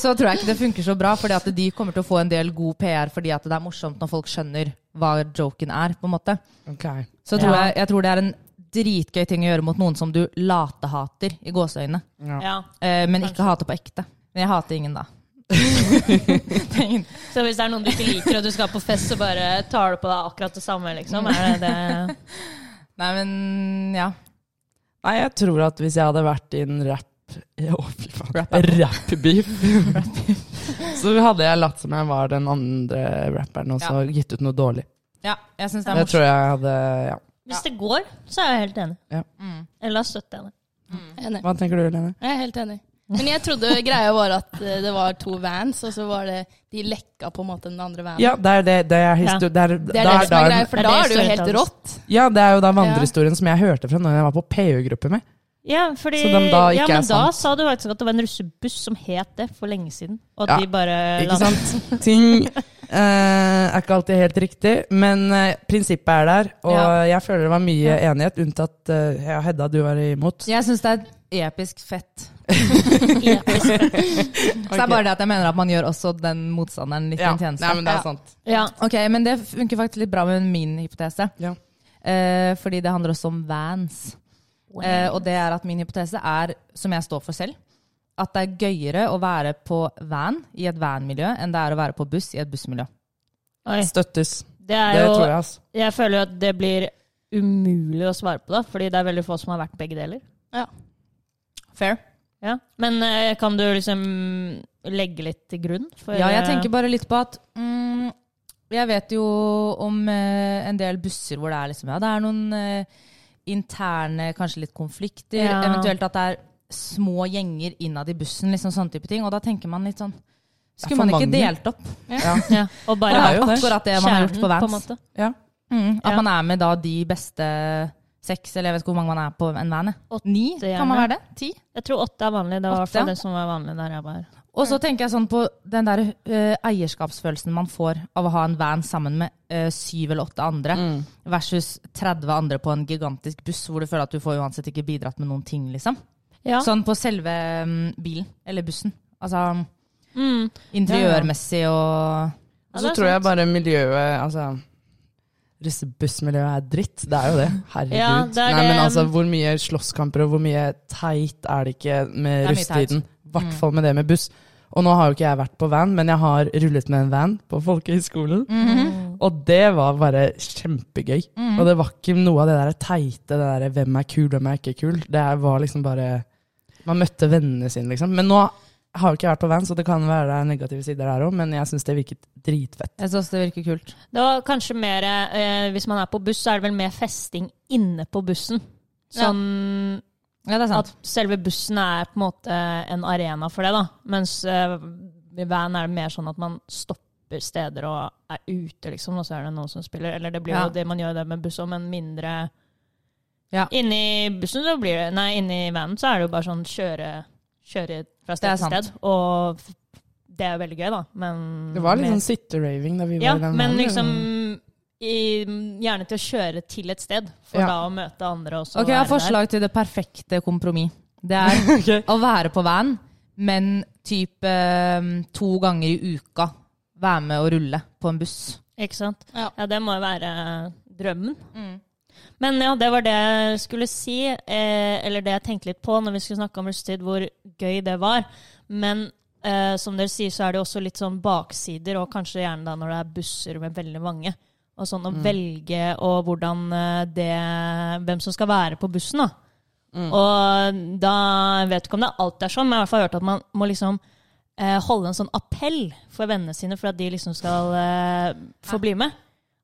så tror jeg ikke det funker så bra, fordi at de kommer til å få en del god PR fordi at det er morsomt når folk skjønner hva joken er, på en måte. Ok. Så tror Ja. jeg, jeg tror det er en dritgøy ting å gjøre mot noen som du latehater i gåseøynene, Ja. eh, men ikke hater på ekte. Men jeg hater ingen da. det er ingen. Så hvis det er noen du ikke liker, og du skal på fest, så bare tar du på deg akkurat det samme, liksom? Er det det? Nei, men ja. Nei, jeg tror at hvis jeg hadde vært i en rap Å, fy faen. Rap-battle. Rap-beef. så hadde jeg latt som jeg var den andre rapperen og så gitt ut noe dårlig. ja jeg syns det Det, er morsomt. tror jeg hadde Ja. Hvis det går, så er jeg helt enig. Ja. Eller da støtter jeg det. Enig. Hva tenker du, Lene? Jeg er helt enig. Men jeg trodde greia var at eh, det var to vans, og så var det De lekka på en måte den andre vanen. Ja, det er det. Det Ja. er, histo- det er, Det er da det som er da- greia, for Det er da det er det jo helt storytellers. rått. ja, det er jo da vandrehistorien som jeg hørte fra når jeg var på PU-gruppe med. Ja, fordi, Så dem da ikke ja, er men da sant. sa du faktisk at det var en russebuss som het det for lenge siden. Og at Ja, de bare la- Ikke sant? Ting eh, er ikke alltid helt riktig, men eh, prinsippet er der. Og Ja. jeg føler det var mye enighet, unntatt eh, ja, Hedda, du var imot. Jeg syns det er episk fett. Ja, precis. Så det er bare det at jeg mener at man gjør også den motstanderen litt en tjeneste. Nei, men det Ja. er sant. ja. Ok, men det funker faktisk litt bra med min hypotese. Ja. Eh, fordi det handler også om vans. Eh, og det er at min hypotese er, som jeg står for selv, at det er gøyere å være på van i et van-miljø enn det er å være på buss i et bussmiljø. Oi, Støttes. det er Det jo tror jeg, altså. Jeg føler jo at det blir umulig å svare på, da, fordi det er veldig få som har vært begge deler. Ja. Fair. Ja. Men eh, kan du liksom legge litt til grunn? For, eh, Ja, jeg tenker bare litt på at mm, Jeg vet jo om eh, en del busser hvor det er liksom Ja, det er noen eh, interne kanskje litt konflikter. Ja. Eventuelt at det er små gjenger innad i bussen, liksom sånne type ting. Og da tenker man litt sånn Det er Skulle man for ikke mange. delt opp? ja. Og bare Det ha er jo det. akkurat det man har gjort på kjernen, en Vans. måte. Ja. mm, at Ja. man er med da de beste seks, eller jeg vet ikke hvor mange man er på en van. jeg. Åtte, Ni, gjerne. kan man være det? Ti? Jeg tror åtte er vanlig. Det var i hvert Åtte, fall ja. det som var vanlig der jeg var. Og så tenker jeg sånn på den der eh, eierskapsfølelsen man får av å ha en van sammen med eh, syv eller åtte andre, versus 30 andre på en gigantisk buss hvor du føler at du får uansett ikke bidratt med noen ting, liksom. Ja. Sånn på selve mm, bilen, eller bussen. Altså Mm. interiørmessig og Og Ja, så det er tror sant. jeg bare miljøet Altså Russebussmiljøet er dritt. Det er jo det. Herregud. Ja, det er Nei, men det. altså, hvor mye slåsskamper og hvor mye teit er det ikke Det er mye med russetiden? I hvert Mm. fall med det med buss. Og nå har jo ikke jeg vært på van, men jeg har rullet med en van på folkehøyskolen. Mm. Og det var bare kjempegøy. Mm. Og det var ikke noe av det der teite, det der hvem er kul, hvem er ikke kul. Det er- var liksom bare Man møtte vennene sine, liksom. Men nå har jo ikke jeg vært på van, så det kan være det er negative sider der òg, men jeg syns det virket dritfett. Jeg syns det virker kult. Det var kanskje mer eh, Hvis man er på buss, så er det vel mer festing inne på bussen. Sånn Ja, det er sant. at selve bussen er på en måte en arena for det, da. Mens eh, i van er det mer sånn at man stopper steder og er ute, liksom, og så er det noen som spiller. Eller det blir Ja. jo det man gjør det med buss òg, men mindre Ja. Inni bussen så blir det Nei, inni vanen så er det jo bare sånn kjøre, kjøre fra Det er sted til sant. sted. Og f- det er jo veldig gøy, da, men Det var litt liksom mer- sånn sitte-raving da vi Ja, var i den men verden, liksom eller? i, gjerne til å kjøre til et sted, for Ja. da å møte andre også. Ok, jeg har være der. forslag til det perfekte kompromiss. Det er å være på van, men typ eh, to ganger i uka være med og rulle på en buss. Ikke sant? Ja. Ja, det må jo være drømmen. Men ja, det var det jeg skulle si, eh, eller det jeg tenkte litt på når vi skulle snakke om russetid, hvor gøy det var. Men eh, som dere sier, så er det jo også litt sånn baksider, og kanskje gjerne da når det er busser med veldig mange. Og sånn å velge og hvordan eh, det Hvem som skal være på bussen, da. Og da jeg vet ikke om det alltid er sånn, men jeg har i hvert fall hørt at man må liksom eh, holde en sånn appell for vennene sine for at de liksom skal eh, få bli med.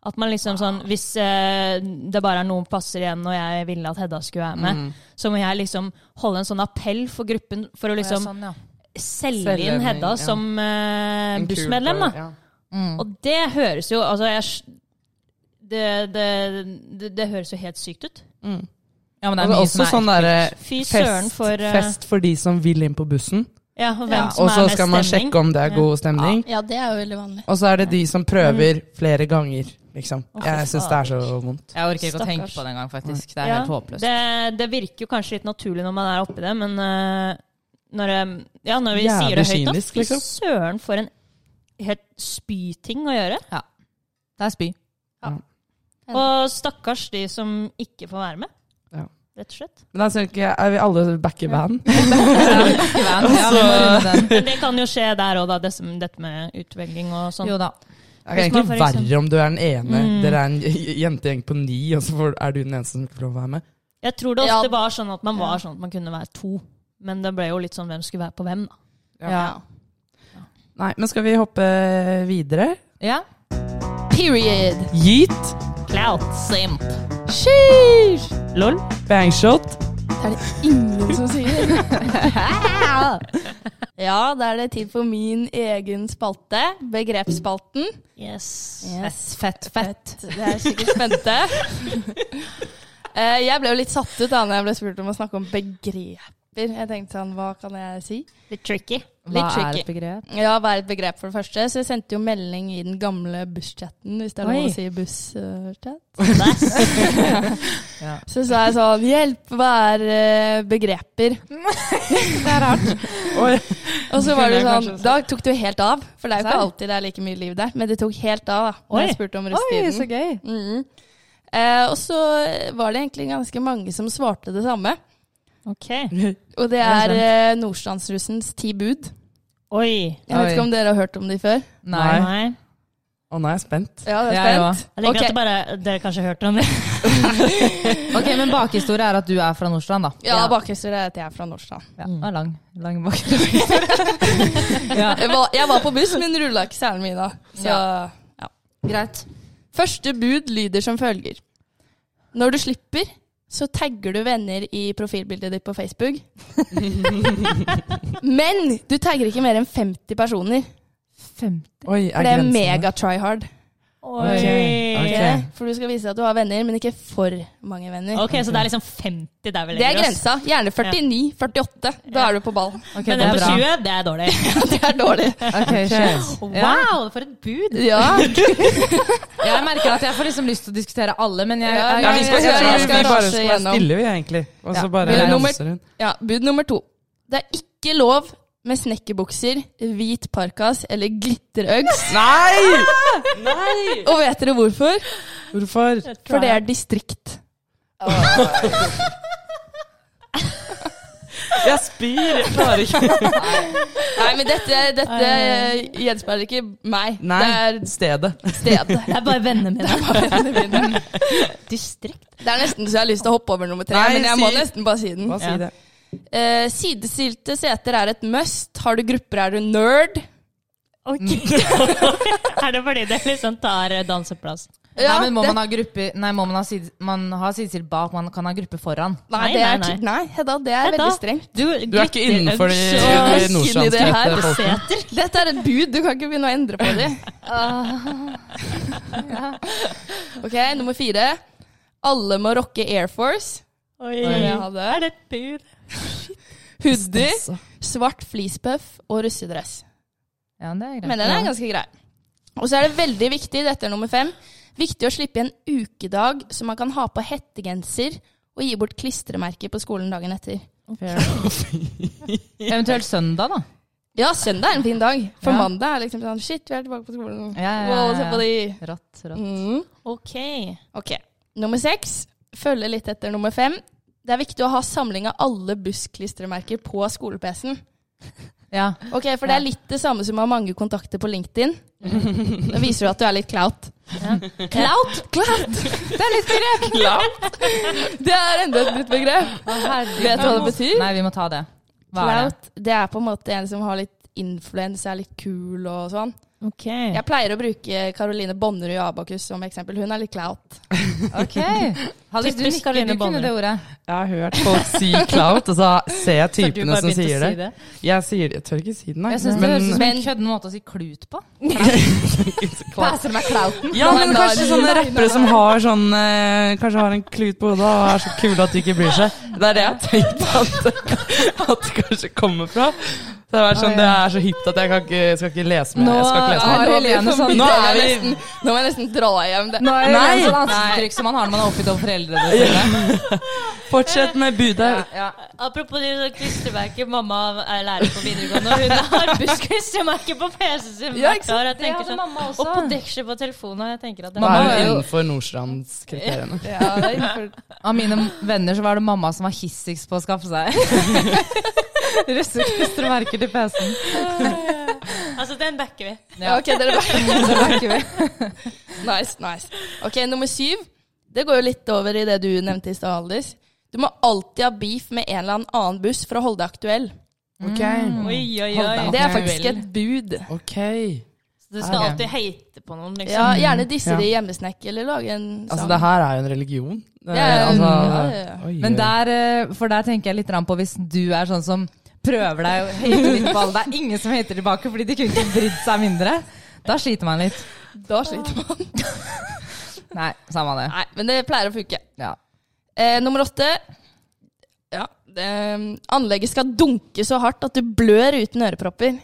At man liksom sånn, Hvis eh, det bare er noen plasser igjen, og jeg ville at Hedda skulle Mm. være med, så må jeg liksom holde en sånn appell for gruppen for å liksom sånn, ja. selge Selge inn den, Hedda ja. som eh, En kul bussmedlem. på- da. ja. Og det høres jo altså jeg, skj- det, det, det, det høres jo helt sykt ut. men det Mm. er Og det er mye også som er sånn derre Fy søren fest, for eh, fest for de som vil inn på bussen. Ja, og hvem Ja, som Og så er mest skal man stemning. sjekke om det er god stemning. Ja, det er jo veldig vanlig. Og så er det de som prøver Mm. flere ganger, liksom. Jeg syns det er så vondt. Jeg orker ikke å tenke Stakkars. på det engang, faktisk. Det er Ja, helt håpløst. Det, det virker jo kanskje litt naturlig når man er oppi det, men eh, når, eh, ja, når vi Jævlig sier det høyt nå kynisk, Fy liksom. søren, for en helt spyting å gjøre. Det er spy. Og stakkars de som ikke får være med. Ja. Rett og slett. Men da skal ikke er vi alle back i band? Ja, vi må runde den. Men det kan jo skje der òg, da, det som- dette med utvelging og sånn. Jo da. Det er Hvis man egentlig for eksempel- verre om du er den ene. Mm. Dere er en j- jentegjeng på ni, og så får- er du den eneste som ikke får lov å være med. Jeg tror det ofte Ja. var sånn at man var sånn at man kunne være to. Men det ble jo litt sånn hvem skulle være på hvem, da. Ja. Nei, men skal vi hoppe videre? Ja. Period. Yeet, Clout. Simp. Sheesh. Lol. bangshot. Det er det ingen som sier. ja, da er det tid for min egen spalte, begrepsspalten. Yes. Fett, fett. Det er sikkert spente. Eh, jeg ble jo litt satt ut da når jeg ble spurt om å snakke om begreper. Jeg tenkte sånn, hva kan jeg si? Litt tricky. Hva Litt er tricky. et begrep? Ja, hva er et begrep for det første? Så jeg sendte jo melding i den gamle busschatten, hvis det er Oi. lov å si busschat. That's Så sa jeg sånn, hjelp, hva er eh, begreper? Det er rart. Og så var Kunne det jeg sånn, kanskje da tok det jo helt av, for det er jo ikke Serr? alltid det er like mye liv der, men det tok helt av da, Oi. når jeg spurte om Oi, rusttiden. så gøy. Mhm. eh, og så var det egentlig ganske mange som svarte det samme, OK. og det er er eh, Nordstrandsrussens ti bud. Oi. Jeg vet Oi. ikke om dere har hørt om de før. Nei. Nei. Å, nå er jeg spent. Ja, det Jeg er spent. Jeg liker Ok. at det bare Dere kanskje hørte om det? Ok, Men bakhistorie er at du er fra Nordstrand, da. Ja, bakhistorie er at jeg er fra Nordstrand. Ja, det er lang, lang bakhistorie. ja. Jeg var, jeg var på buss, men rulla ikke særlig mye da. Så, ja. Greit. Første bud lyder som følger. Når du slipper, så tagger du venner i profilbildet ditt på Facebook. Men du tagger ikke mer enn 50 personer. Oi, For er det er grensene- mega try hard. Oi. Ok. For du skal vise at du har venner, men ikke for mange venner. Ok, så det er liksom 50 der vi Det er legger oss. grensa. Gjerne 49-48. Da er du på ball. Men Ok, det den er på bra. 20, det er dårlig. Det er dårlig. Ok, shit. Wow, for et bud! Ja. Jeg merker at jeg får liksom lyst til å diskutere alle, men jeg, Ja, jeg, Ja, vi skal, Jeg jeg, skal- jeg skal bare rasje skal gjennom. stille, vi, egentlig. Og så Ja. bare Vil du nummer- ramser hun. ja. Bud nummer to. Det er ikke lov med snekkerbukser, hvit parkas eller glitterøggs. Nei! Og vet dere hvorfor? Hvorfor? For det er distrikt. Jeg spyr, jeg klarer ikke. Nei, men dette, dette gjenspeiler ikke meg. Nei, Det stedet. er stedet. Det er bare vennene mine. Distrikt. Det er nesten så jeg har lyst til å hoppe over nummer tre, Nei, men jeg må si- nesten bare si den. Hva sier det? Eh, sidestilte seter er et must. Har du grupper, er du nerd. er det fordi det liksom tar eh, danseplass? Ja, nei, men må det- man ha gruppe Nei, må man ha side, man har sidestilt bak, man kan ha gruppe foran. Nei, det Nei, er, nei, nei. nei, Hedda, det er Hedda. veldig strengt. Du, Du er ikke innenfor de, eh, så- de nordstrandskrette Inni det her. folkene. Dette er et bud, du kan ikke begynne å endre på det. Ok, nummer fire. Alle må rocke Air Force. Oi, Det var det jeg hadde. er det et bud? Hoodie, svart fleecepuff og russedress. Ja, det er greit. Men den er ganske grei. Og så er det veldig viktig, dette er nummer fem, viktig å slippe en ukedag så man kan ha på hettegenser og gi bort klistremerker på skolen dagen etter. Eventuelt søndag, da. Ja, søndag er en fin dag. For Ja. mandag er liksom sånn Shit, vi er tilbake på skolen. Ja, ja, ja, Wow, se ja. på de. Rått, rått. Mm. Ok. Ok. Nummer seks følger litt etter nummer fem. Det er viktig å ha samling av alle bussklistremerker på skole-PC-en. Ja. Ok, For det er litt det samme som å ha mange kontakter på LinkedIn. Da viser du at du er litt clout. Clout? Clout! Det er litt begrep. Det er enda et nytt begrep. Vet du hva det betyr? Nei, vi må ta det. Hva er det? Clout, det er på en måte en som har litt influens, er litt kul og sånn. Ok. Jeg pleier å bruke Caroline Bonnerud i Abakus som eksempel. Hun er litt clout. Ok. Hallis, du Typisk nikker, Karoline du kunne Bonner. det ordet. Jeg har hørt folk si clout, og så ser jeg Så du typene bare som begynte å sier si det. Jeg sier det, jeg tør ikke si det, nei. Jeg syns det høres ut som en Men- kødden måte å si klut på. Clout. meg clouten. Ja, men kanskje sånne rappere som har sånn eh, Kanskje har en klut på hodet og er så kule at de ikke bryr seg. Det er det jeg har tenkt at, at det kanskje kommer fra. Så Det er, sånn, det er så hipt at jeg, kan ikke, jeg skal ikke lese med. Nå Jeg skal ikke lese er med. Nå blir Helene det for sånn- mye. Nå er Jeg vi- nesten- Nå må jeg nesten dra hjem. Det. Nå er det Nei. en sånn ansiktstrykk som man har når man er oppgitt over foreldrene sine. Fortsett med budet. Apropos de sånne klistremerker. Mamma er lærer på videregående, og hun har arbeidsklistremerker på PC-en sin Ja, ikke hvert sant? år. Jeg Det tenker hadde sånn, mamma og på også. deksel på telefonen. og Jeg tenker at det Nå Mamma er er hun jo- innenfor Nordstrandskriteriene. Ja, det er innenfor- Av mine venner så var det mamma som var hissigst på å skaffe seg russeklistremerker til PC-en. Altså, den backer vi. Ja, ok, dere backer vi. Nice, nice. Ok, nummer syv. Det går jo litt over i det du nevnte i stad, Haldis. Du må alltid ha beef med en eller annen buss for å holde deg aktuell. Oi, oi, oi. Mm. Hold Det da. er faktisk et bud. Ok. Du skal Ok. alltid hate på noen, liksom. Ja, gjerne disse Ja. de hjemmesnekk, eller lage en Altså, sang. det her er jo en religion. Eh, Ja, altså, ja, ja. oi, Men oi. der, eh, for der tenker jeg litt grann på hvis du er sånn som prøver deg å hate litt på alle. Det er ingen som hater tilbake fordi de kunne ikke brydd seg mindre. Da sliter man litt. Da sliter man. Nei, samme det. Nei, men det pleier å funke. Ja. Eh, nummer åtte. Ja, det, eh, anlegget skal dunke så hardt at du blør uten ørepropper.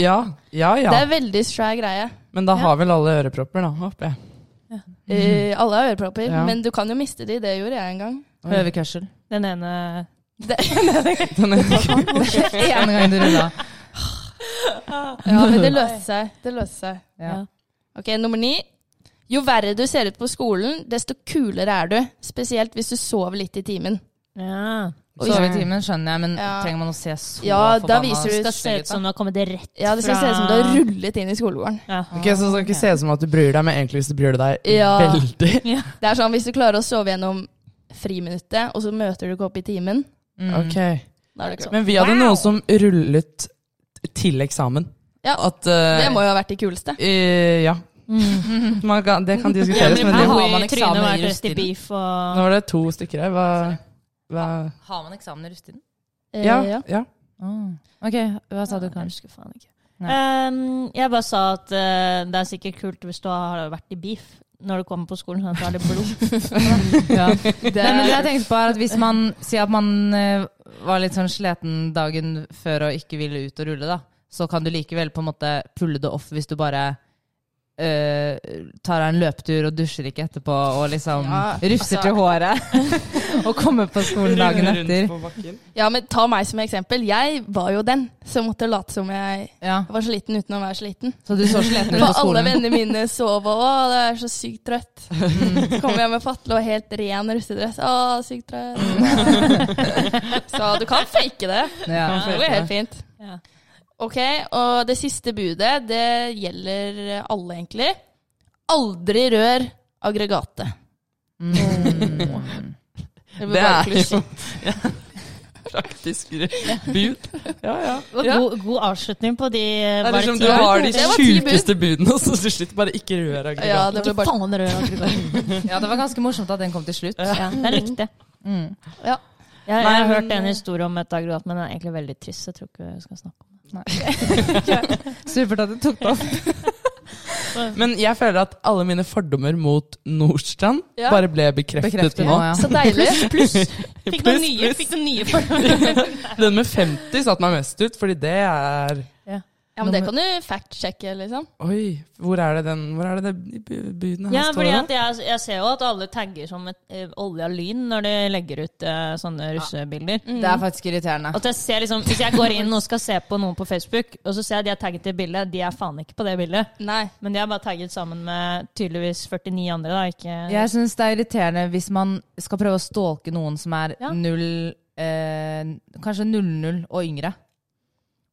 Ja, ja, ja. Det er veldig svær greie. Men da har vel alle ørepropper, da, håper jeg. Eh, alle har ørepropper, Ja. men du kan jo miste de. Det gjorde jeg en gang. Høvekørsel. Den ene Den er- En gang du rulla. Ja, men det løste seg. Det løste seg. Ja. Ok, nummer ni. Jo verre du ser ut på skolen, desto kulere er du. Spesielt hvis du sover litt i timen. ja. Sove i timen skjønner jeg, men Ja. trenger man å se så Ja, da forbanna viser du- Det skal se ut som du har kommet rett Ja, det skal se ut som du har fra- rullet inn i skolegården. Ja. Ok, så det skal ikke se ut som at du bryr deg, men egentlig hvis du bryr deg Ja. veldig. Det er sånn, Hvis du klarer å sove gjennom friminuttet, og så møter du ikke opp i timen Mm. Ok. da er det ikke sånn. Men vi hadde noen som rullet til eksamen. Ja, At, eh, Det må jo ha vært de kuleste. eh, ja. Mm. Man kan, det kan Ja, diskuteres, men men her det, har har man man eksamen i eksamen i rusttiden. beef og nå var det to stykker her. Hva, hva Har man eksamen i rusttiden? Eh, Ja. ja. Ok, hva sa du kanskje? husker faen ikke. Nei. Ehm, jeg bare sa at eh, det er sikkert kult hvis du har vært i beef når du kommer på skolen, sånn at du har litt blod. Ja. Nei, men det jeg tenkte på er at Hvis man sier at man eh, var litt sånn sliten dagen før og ikke ville ut og rulle, da, så kan du likevel på en måte pulle det off hvis du bare eh, tar deg en løpetur og dusjer ikke etterpå og liksom Ja, rufser altså- til håret og kommer på skolen dagen etter. Ja, men Ta meg som eksempel. Jeg var jo den som måtte late som jeg Ja, var sliten uten å være sliten. så du så sliten ut på For alle skolen. vennene mine sov og å, det er så sykt trøtt. Så kommer jeg med fatle og helt ren russedress. Å, sykt trøtt. Så du kan fake det. Ja. Det går helt fint. Ja. Ok, og det siste budet, det gjelder alle egentlig. Aldri rør aggregatet. Mm. Det, Det var er bare jo klisjé. praktisk bud. Ja, ja. God, god avslutning på de eh, Det er var liksom, ti du år? har de Det var ti bud. sjukeste budene, og så til slutt bare ikke rør Ja, aggregatet. det ble Ikke bare faen rød aggregat. ja, det var ganske morsomt at den kom til slutt. Mm. Ja, jeg likte det. ja. Jeg, jeg har Nei, eh, hørt en historie om et aggregat, men den er egentlig veldig trist. så Jeg tror ikke vi skal snakke om det. Supert at du tok det opp. Men jeg føler at alle mine fordommer mot Nordstrand Ja. bare ble bekreftet, Bekreftet nå. nå, ja. Så deilig. Fikk Pluss, noen nye, pluss. fikk noen nye forhold. Den med 50 satte meg mest ut, fordi det er Ja, men det kan du fact-sjekke, liksom. Oi, hvor er det den Hvor er det det bu- budene her Ja, står? fordi da? at jeg, jeg ser jo at alle tagger som et, eh, olje av lyn når de legger ut eh, sånne russebilder. Mm. Mm. Det er faktisk irriterende. At jeg ser liksom, Hvis jeg går inn og skal se på noen på Facebook, og så ser jeg de er tagget i bildet, de er faen ikke på det bildet. Nei. Men de er bare tagget sammen med tydeligvis 49 andre, da. Ikke Jeg syns det er irriterende hvis man skal prøve å stalke noen som er Ja. null eh, Kanskje 00 og yngre.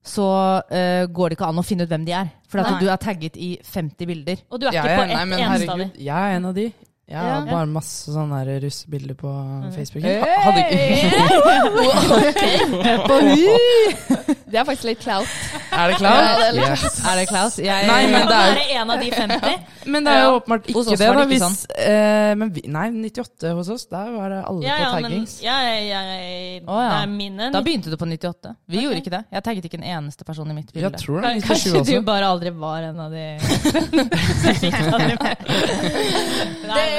Så eh, går det ikke an å finne ut hvem de er. For at Nei. du er tagget i 50 bilder. Og du er Ja, ikke ja, på ett nei, men eneste av dem. herregud, Jeg er en av de. Jeg har Ja. bare masse sånne her russebilder på Facebook. Hey! Ha- Hadde ikke Det er faktisk litt clout. Er det Ja, det er klart? litt- Yes. Er det Klaus? Jeg, Nei, men Og det du er jo er en av de 50. Men det er jo åpenbart ikke Hos oss det. var da, det hvis, ikke eh, men vi, nei, 98 hos oss, der var det alle Ja, ja, på men taggings. ja, ja, ja, ja. Å, ja. Det er mine. Da begynte du på 98. Vi gjorde ikke det. Jeg tagget ikke en eneste person i mitt bilde. Jeg tror det er 97 Kanskje du også. bare aldri var en av de som fikk ta det med. Nei,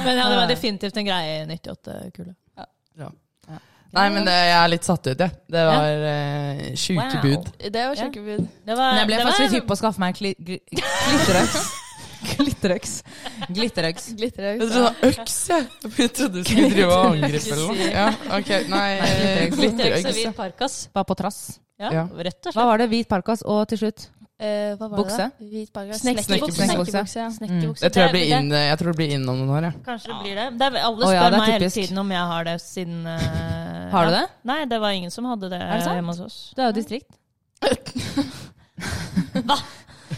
Men ja, det var definitivt en greie i 98-kullet. Ja. Nei, men det, jeg er litt satt ut, jeg. Det var eh, sjuke Wow. bud. Det var sjekkebud. Det var, Men jeg ble det faktisk var- litt hypp på å skaffe meg en kli, gli, glitterøks. glitterøks. Glitterøks. Glitterøks. Jeg trodde det var øks, jeg. Jeg trodde du skulle drive og angripe eller noe. Ja, ok, Nei, Nei, Det er ikke så glitterøks. vidt park, ass. Bare på trass. Ja, Ja. rett og slett. Hva var det? Hvit parkas og til slutt Eh, hva var Bukse? det? da? Hvit bukse. Mm. Snekkerbukse. Snekkerbukse. ja. Snekkebukse. Jeg tror Det er- jeg blir inn, jeg tror det blir inn om noen år, jeg. det- Kanskje det blir det. det er, alle spør Å ja, det er meg hele typisk. tiden om jeg har det, siden eh, Har du ja. det? Nei, det var ingen som hadde det, det sant? hjemme hos oss. Du er jo distrikt.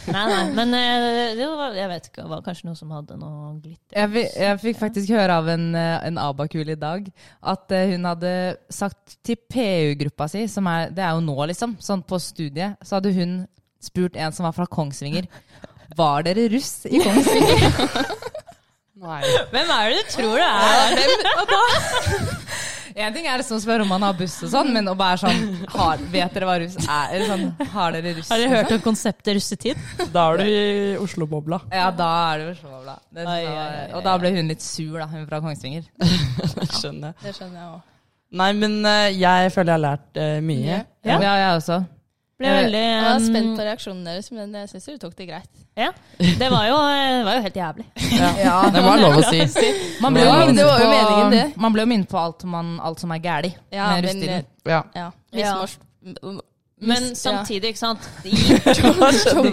Nei, nei, men eh, det var, jeg vet ikke, det var kanskje noe som hadde noe glitter. Jeg, fi- jeg fikk faktisk høre av en, eh, en abakule i dag at eh, hun hadde sagt til PU-gruppa si, som er, det er jo nå liksom, sånn på studiet, så hadde hun spurt en som var fra Kongsvinger, var dere russ i Kongsvinger? Hvem er det du tror det er? en ting er liksom å spørre om man har buss og sånn, men å være sånn, har, vet dere hva russ er? Eller sånn, har dere russ? Har dere hørt om konseptet russetid? Da er du i Oslo-bobla. Liksom. Ja, da er det jo så bra. Det Ai, var- ai, ai, Og da ble hun litt sur, da, hun fra Kongsvinger. Skjønner jeg. Det skjønner jeg òg. Nei, men eh, jeg føler jeg har lært eh, mye. Ja. Ja, jeg også. Ble veldig Jeg var eh, spent på reaksjonen deres, men jeg syns dere tok det greit. Ja. Det var jo, eh, det var jo helt jævlig. Det var lov å si. Man ble jo minnet det var jo på- meningen, det. Man ble jo minnet på alt, man, alt som er gæli med Ja, men, eh, russetiden. Ja. Ja. Ja. Mismors- Men mis- ja. samtidig, ikke sant.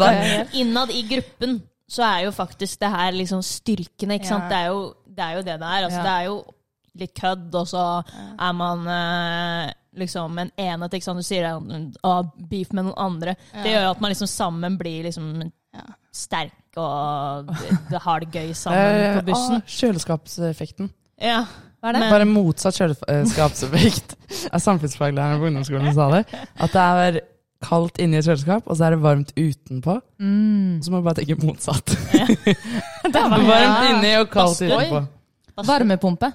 I, innad i gruppen så er jo faktisk det her liksom styrkene, ikke Ja. sant. Det er jo det er jo det, det er. Altså, Ja. Det er jo litt kødd, og så er man eh, liksom en enhet, ikke sant. Du sier uh, beef med noen andre. Det gjør jo at man liksom sammen blir liksom Ja. sterk og d- har det gøy sammen Eh, på bussen. ah, kjøleskapseffekten. Ja. Hva er det? Men- Bare motsatt kjøleskapseffekt er samfunnsfaglæreren på ungdomsskolen som sa det. At det er kaldt inni et kjøleskap, og så er det varmt utenpå. Og så må du bare tenke motsatt. Det var Varmt inni og kaldt Badstue. utenpå. Varmepumpe.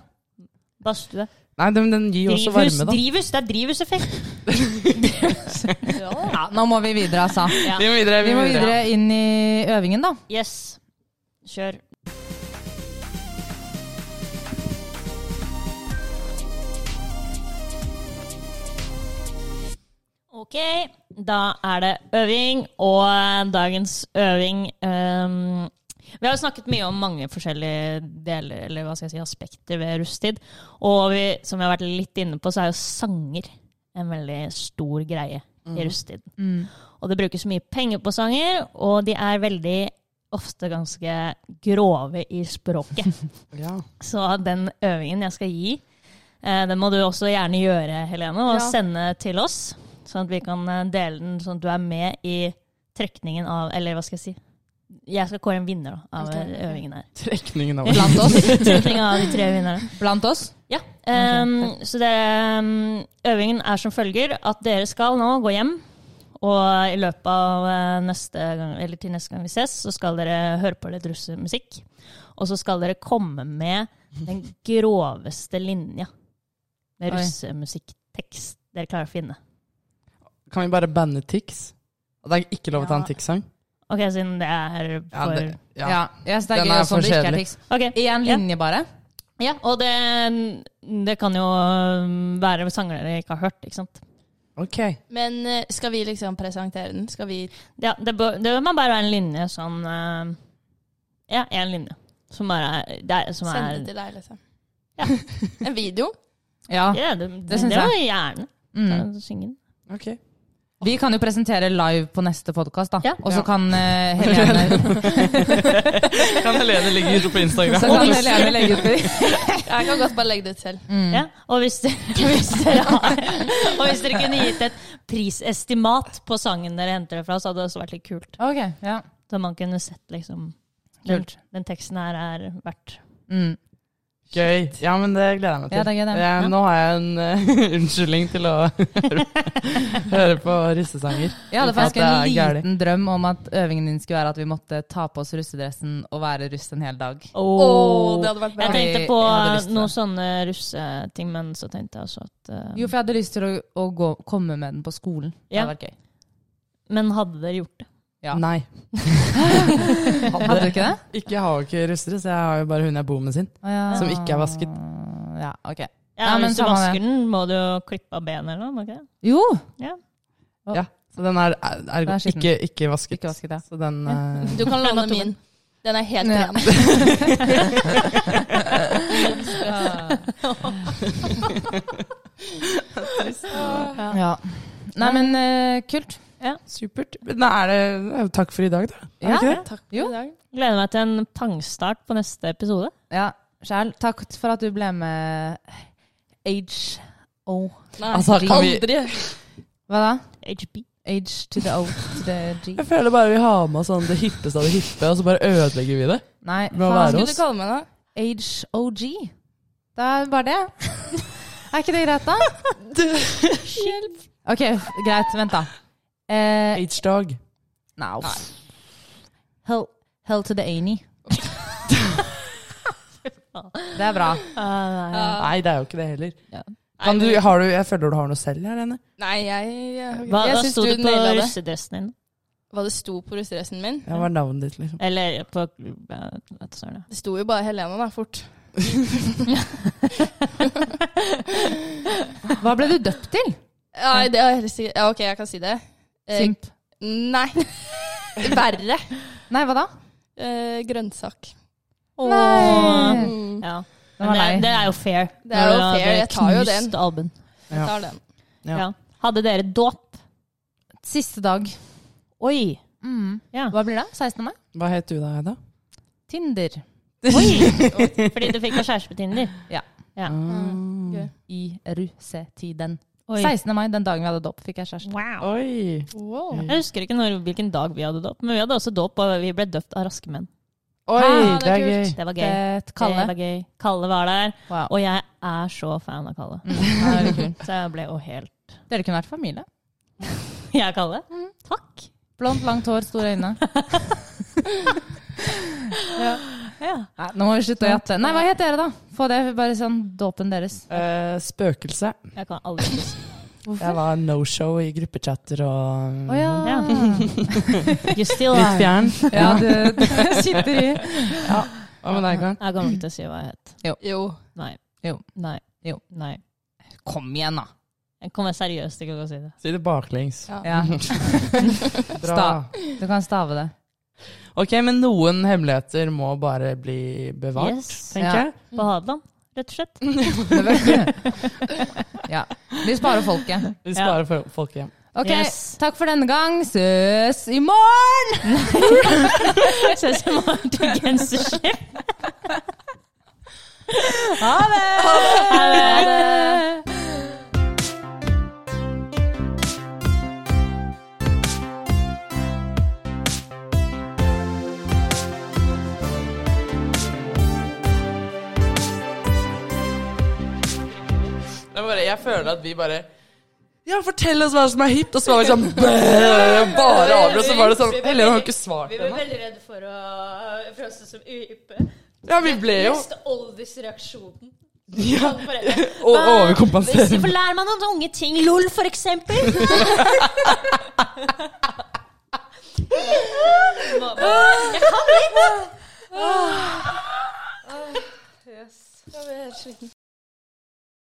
Badstue. Nei, den, den gir jo også Drivhus, varme, da. drivhus. Det er drivhuseffekt. Ja, nå må vi videre, altså. Ja. Vi må videre. Vi må videre inn i øvingen, da. Yes. Kjør. Ok, da er det øving, og eh, dagens øving ehm, Vi har jo snakket mye om mange forskjellige deler, eller hva skal jeg si, aspekter ved rusttid. Og vi, som vi har vært litt inne på, så er jo sanger en veldig stor greie i rusttiden. Og det brukes mye penger på sanger, og de er veldig ofte ganske grove i språket. Ja. Så den øvingen jeg skal gi, eh, den må du også gjerne gjøre, Helene, og Ja. sende til oss. Sånn at vi kan eh, dele den, sånn at du er med i trekningen av Eller hva skal jeg si? Jeg skal kåre en vinner da, av Ok, ok. øvingen her. Trekningen av Blant oss. Trekningen av de tre vinnerne. Blant oss. Ja. ehm, så det, ehm, øvingen er som følger at dere skal nå gå hjem. Og i løpet av eh, neste gang, eller til neste gang vi ses, så skal dere høre på litt russemusikk. Og så skal dere komme med den groveste linja med Oi. russemusikktekst dere klarer å finne. Kan vi bare banne Tix? Det er ikke lov å ta en Tix-sang. Ok, siden det er Ja, for det- Ja. ja. Yes, det er Den gøy også er om for det ikke er kjedelig. triks. Ok, Én ja. linje, bare. Ja, og det, det kan jo øhm, være sanger dere ikke har hørt, ikke sant? Ok. Men eh, skal vi liksom presentere den? Skal vi Ja, det, bør, det må bare være en linje sånn eh, Ja, én linje. Som bare er, det er som sende er, det til deg, liksom? En video? Ja. Ja, det, det, det, syns jeg. må jeg gjerne. Mm. Ta- synge den. ok. Vi kan jo presentere live på neste podkast, da. Ja. Og så kan eh, Helene Kan Helene ligge ute på Instagram? Så kan Helene legge ut det. Jeg kan godt bare legge det ut selv. Mm. Ja, og hvis dere, hvis dere har Og hvis dere kunne gitt et prisestimat på sangen dere henter det fra, så hadde det også vært litt kult. Ok, ja. Så man kunne sett liksom Den, Kult. den teksten her er verdt Mm. Gøy. Ja, men det gleder jeg meg til. Ja, det er gøy, det. Jeg- Nå har jeg en eh, unnskyldning til å høre på russesanger. Jeg hadde At faktisk en det er gærlig. liten drøm om at øvingen din skulle være at vi måtte ta på oss russedressen og være russ en hel dag. Åh, det hadde vært bra. Jeg tenkte på Jeg hadde lyst til noen det. sånne russeting, men så tenkte jeg også at eh, Jo, for jeg hadde lyst til å, å gå, komme med den på skolen. Det Ja. hadde vært gøy. Men hadde dere gjort det? Ja. Nei. Hadde du ikke det? Ah. Ikke, jeg har jo ikke russere, så jeg har jo bare hun jeg bor med sin. Som ikke er vasket. Ja, ok. Ja, Nei, men Hvis du samme vasker det. den, må du jo klippe av benet eller noe? må du ikke det? Jo! Ja, så den er, er, er, Den er skitten. ikke, ikke vasket. Ikke vasket, ja. Så den eh, Du kan låne Låne min. Den er helt Ja. ren. Ja. Nei, men eh, kult. Supert. Nei, er det, eh, takk for i dag, da. Er det Ja. ikke det? Takk Jo. for i dag. Gleder meg til en pangstart på neste episode. Ja, Kjell, takk for at du ble med HO. Nei, Altså, kan vi- aldri. Hva da? HB. H to the O to the G. Jeg føler bare vi har med oss sånn det hippeste av det hippe, og så bare ødelegger vi det. Nei, Hva Hva være faen. skulle oss? du kalle meg da? HOG. Da er det bare det. Er ikke det greit, da? Hjelp. OK, greit. Vent, da. Eh, H-dog. Now. Hell, hell to the any. det er bra. Nei, det er jo ikke det heller. Ja. Kan du, har du, jeg føler du har noe selv her, Lene. Nei, jeg, jeg, Hva, jeg hva syns sto du det på naila det. russedressen din? Hva det sto på russedressen min? Ja, Hva er navnet ditt, liksom? Eller på ja, vet du søren, ja. Det sto jo bare Helene, da, fort. Hva ble du døpt til? Nei, det er helt sikkert. Ja, ok, jeg kan si det. Eh, Simp. Nei. Verre. Nei, hva da? Eh, grønnsak. Åh. Mm. Ja. Den var Men lei. det, det er jo fair. Det er jo fair, jeg tar jo den. Alben. Ja. Jeg tar den. Ja. Ja. Hadde dere dåp? Siste dag. Oi! Mm. Ja. Hva blir det? 16. mai? Hva het du da, Hedda? Tinder. Oi! Fordi du fikk deg kjæreste på Tinder? Ah. Mm. gøy. I rusetiden. Oi. 16. mai, den dagen vi hadde dåp, fikk jeg kjæreste. Wow. Oi! Wow. Jeg husker ikke når, hvilken dag vi hadde dåp, men vi hadde også dåp, og vi ble døpt av raske menn. Oi, Ah, det det er er gøy. Det var gøy. Det Kalle. Kalle. var gøy. Kalle var der, Wow. og jeg er så fan av Kalle. Mm, det er veldig kult. Så jeg ble jo helt Dere kunne vært familie. Jeg er Kalle. Mm. Takk. Blondt, langt hår, store øyne. Ja. Nei, nå må vi slutte å jatte. Nei, hva het dere, da? Få det bare sånn dåpen deres. Eh, spøkelse. Jeg kan aldri huske. Jeg var no-show i gruppechatter og Å ja. Ja. You still Litt are. fjern. ja, du du sitter i Hva med deg, Karen? Jeg kommer ikke til å si hva jeg het. Jo. Nei. Jo. Nei. Jo. Nei. Kom igjen, da. Jeg kommer seriøst ikke til å si det. Si det baklengs. Ja. Ja, Bra. Du kan stave det. Ok, men noen hemmeligheter må bare bli bevart, Yes. tenker Ja. jeg. På Hadeland, rett og slett. ja. Vi sparer folket. Vi sparer for folk hjem. Ok, Yes. takk for denne gang. Søs i morgen! Ses i morgen til genserskip. Ha det! Ha det! Det er bare, jeg føler at vi bare Ja, fortell oss hva som er hipt! Og så var vi sånn bæ, Bare avbrøt, så var det sånn Helene har jo ikke svart ennå. veldig redde for å fremstå som uhyppe. Ja, vi ble jo oldisreaksjonen. ja, og overkompenserte. Hvorfor lærer man noen unge ting? LOL, for eksempel. Jeg blir helt sliten.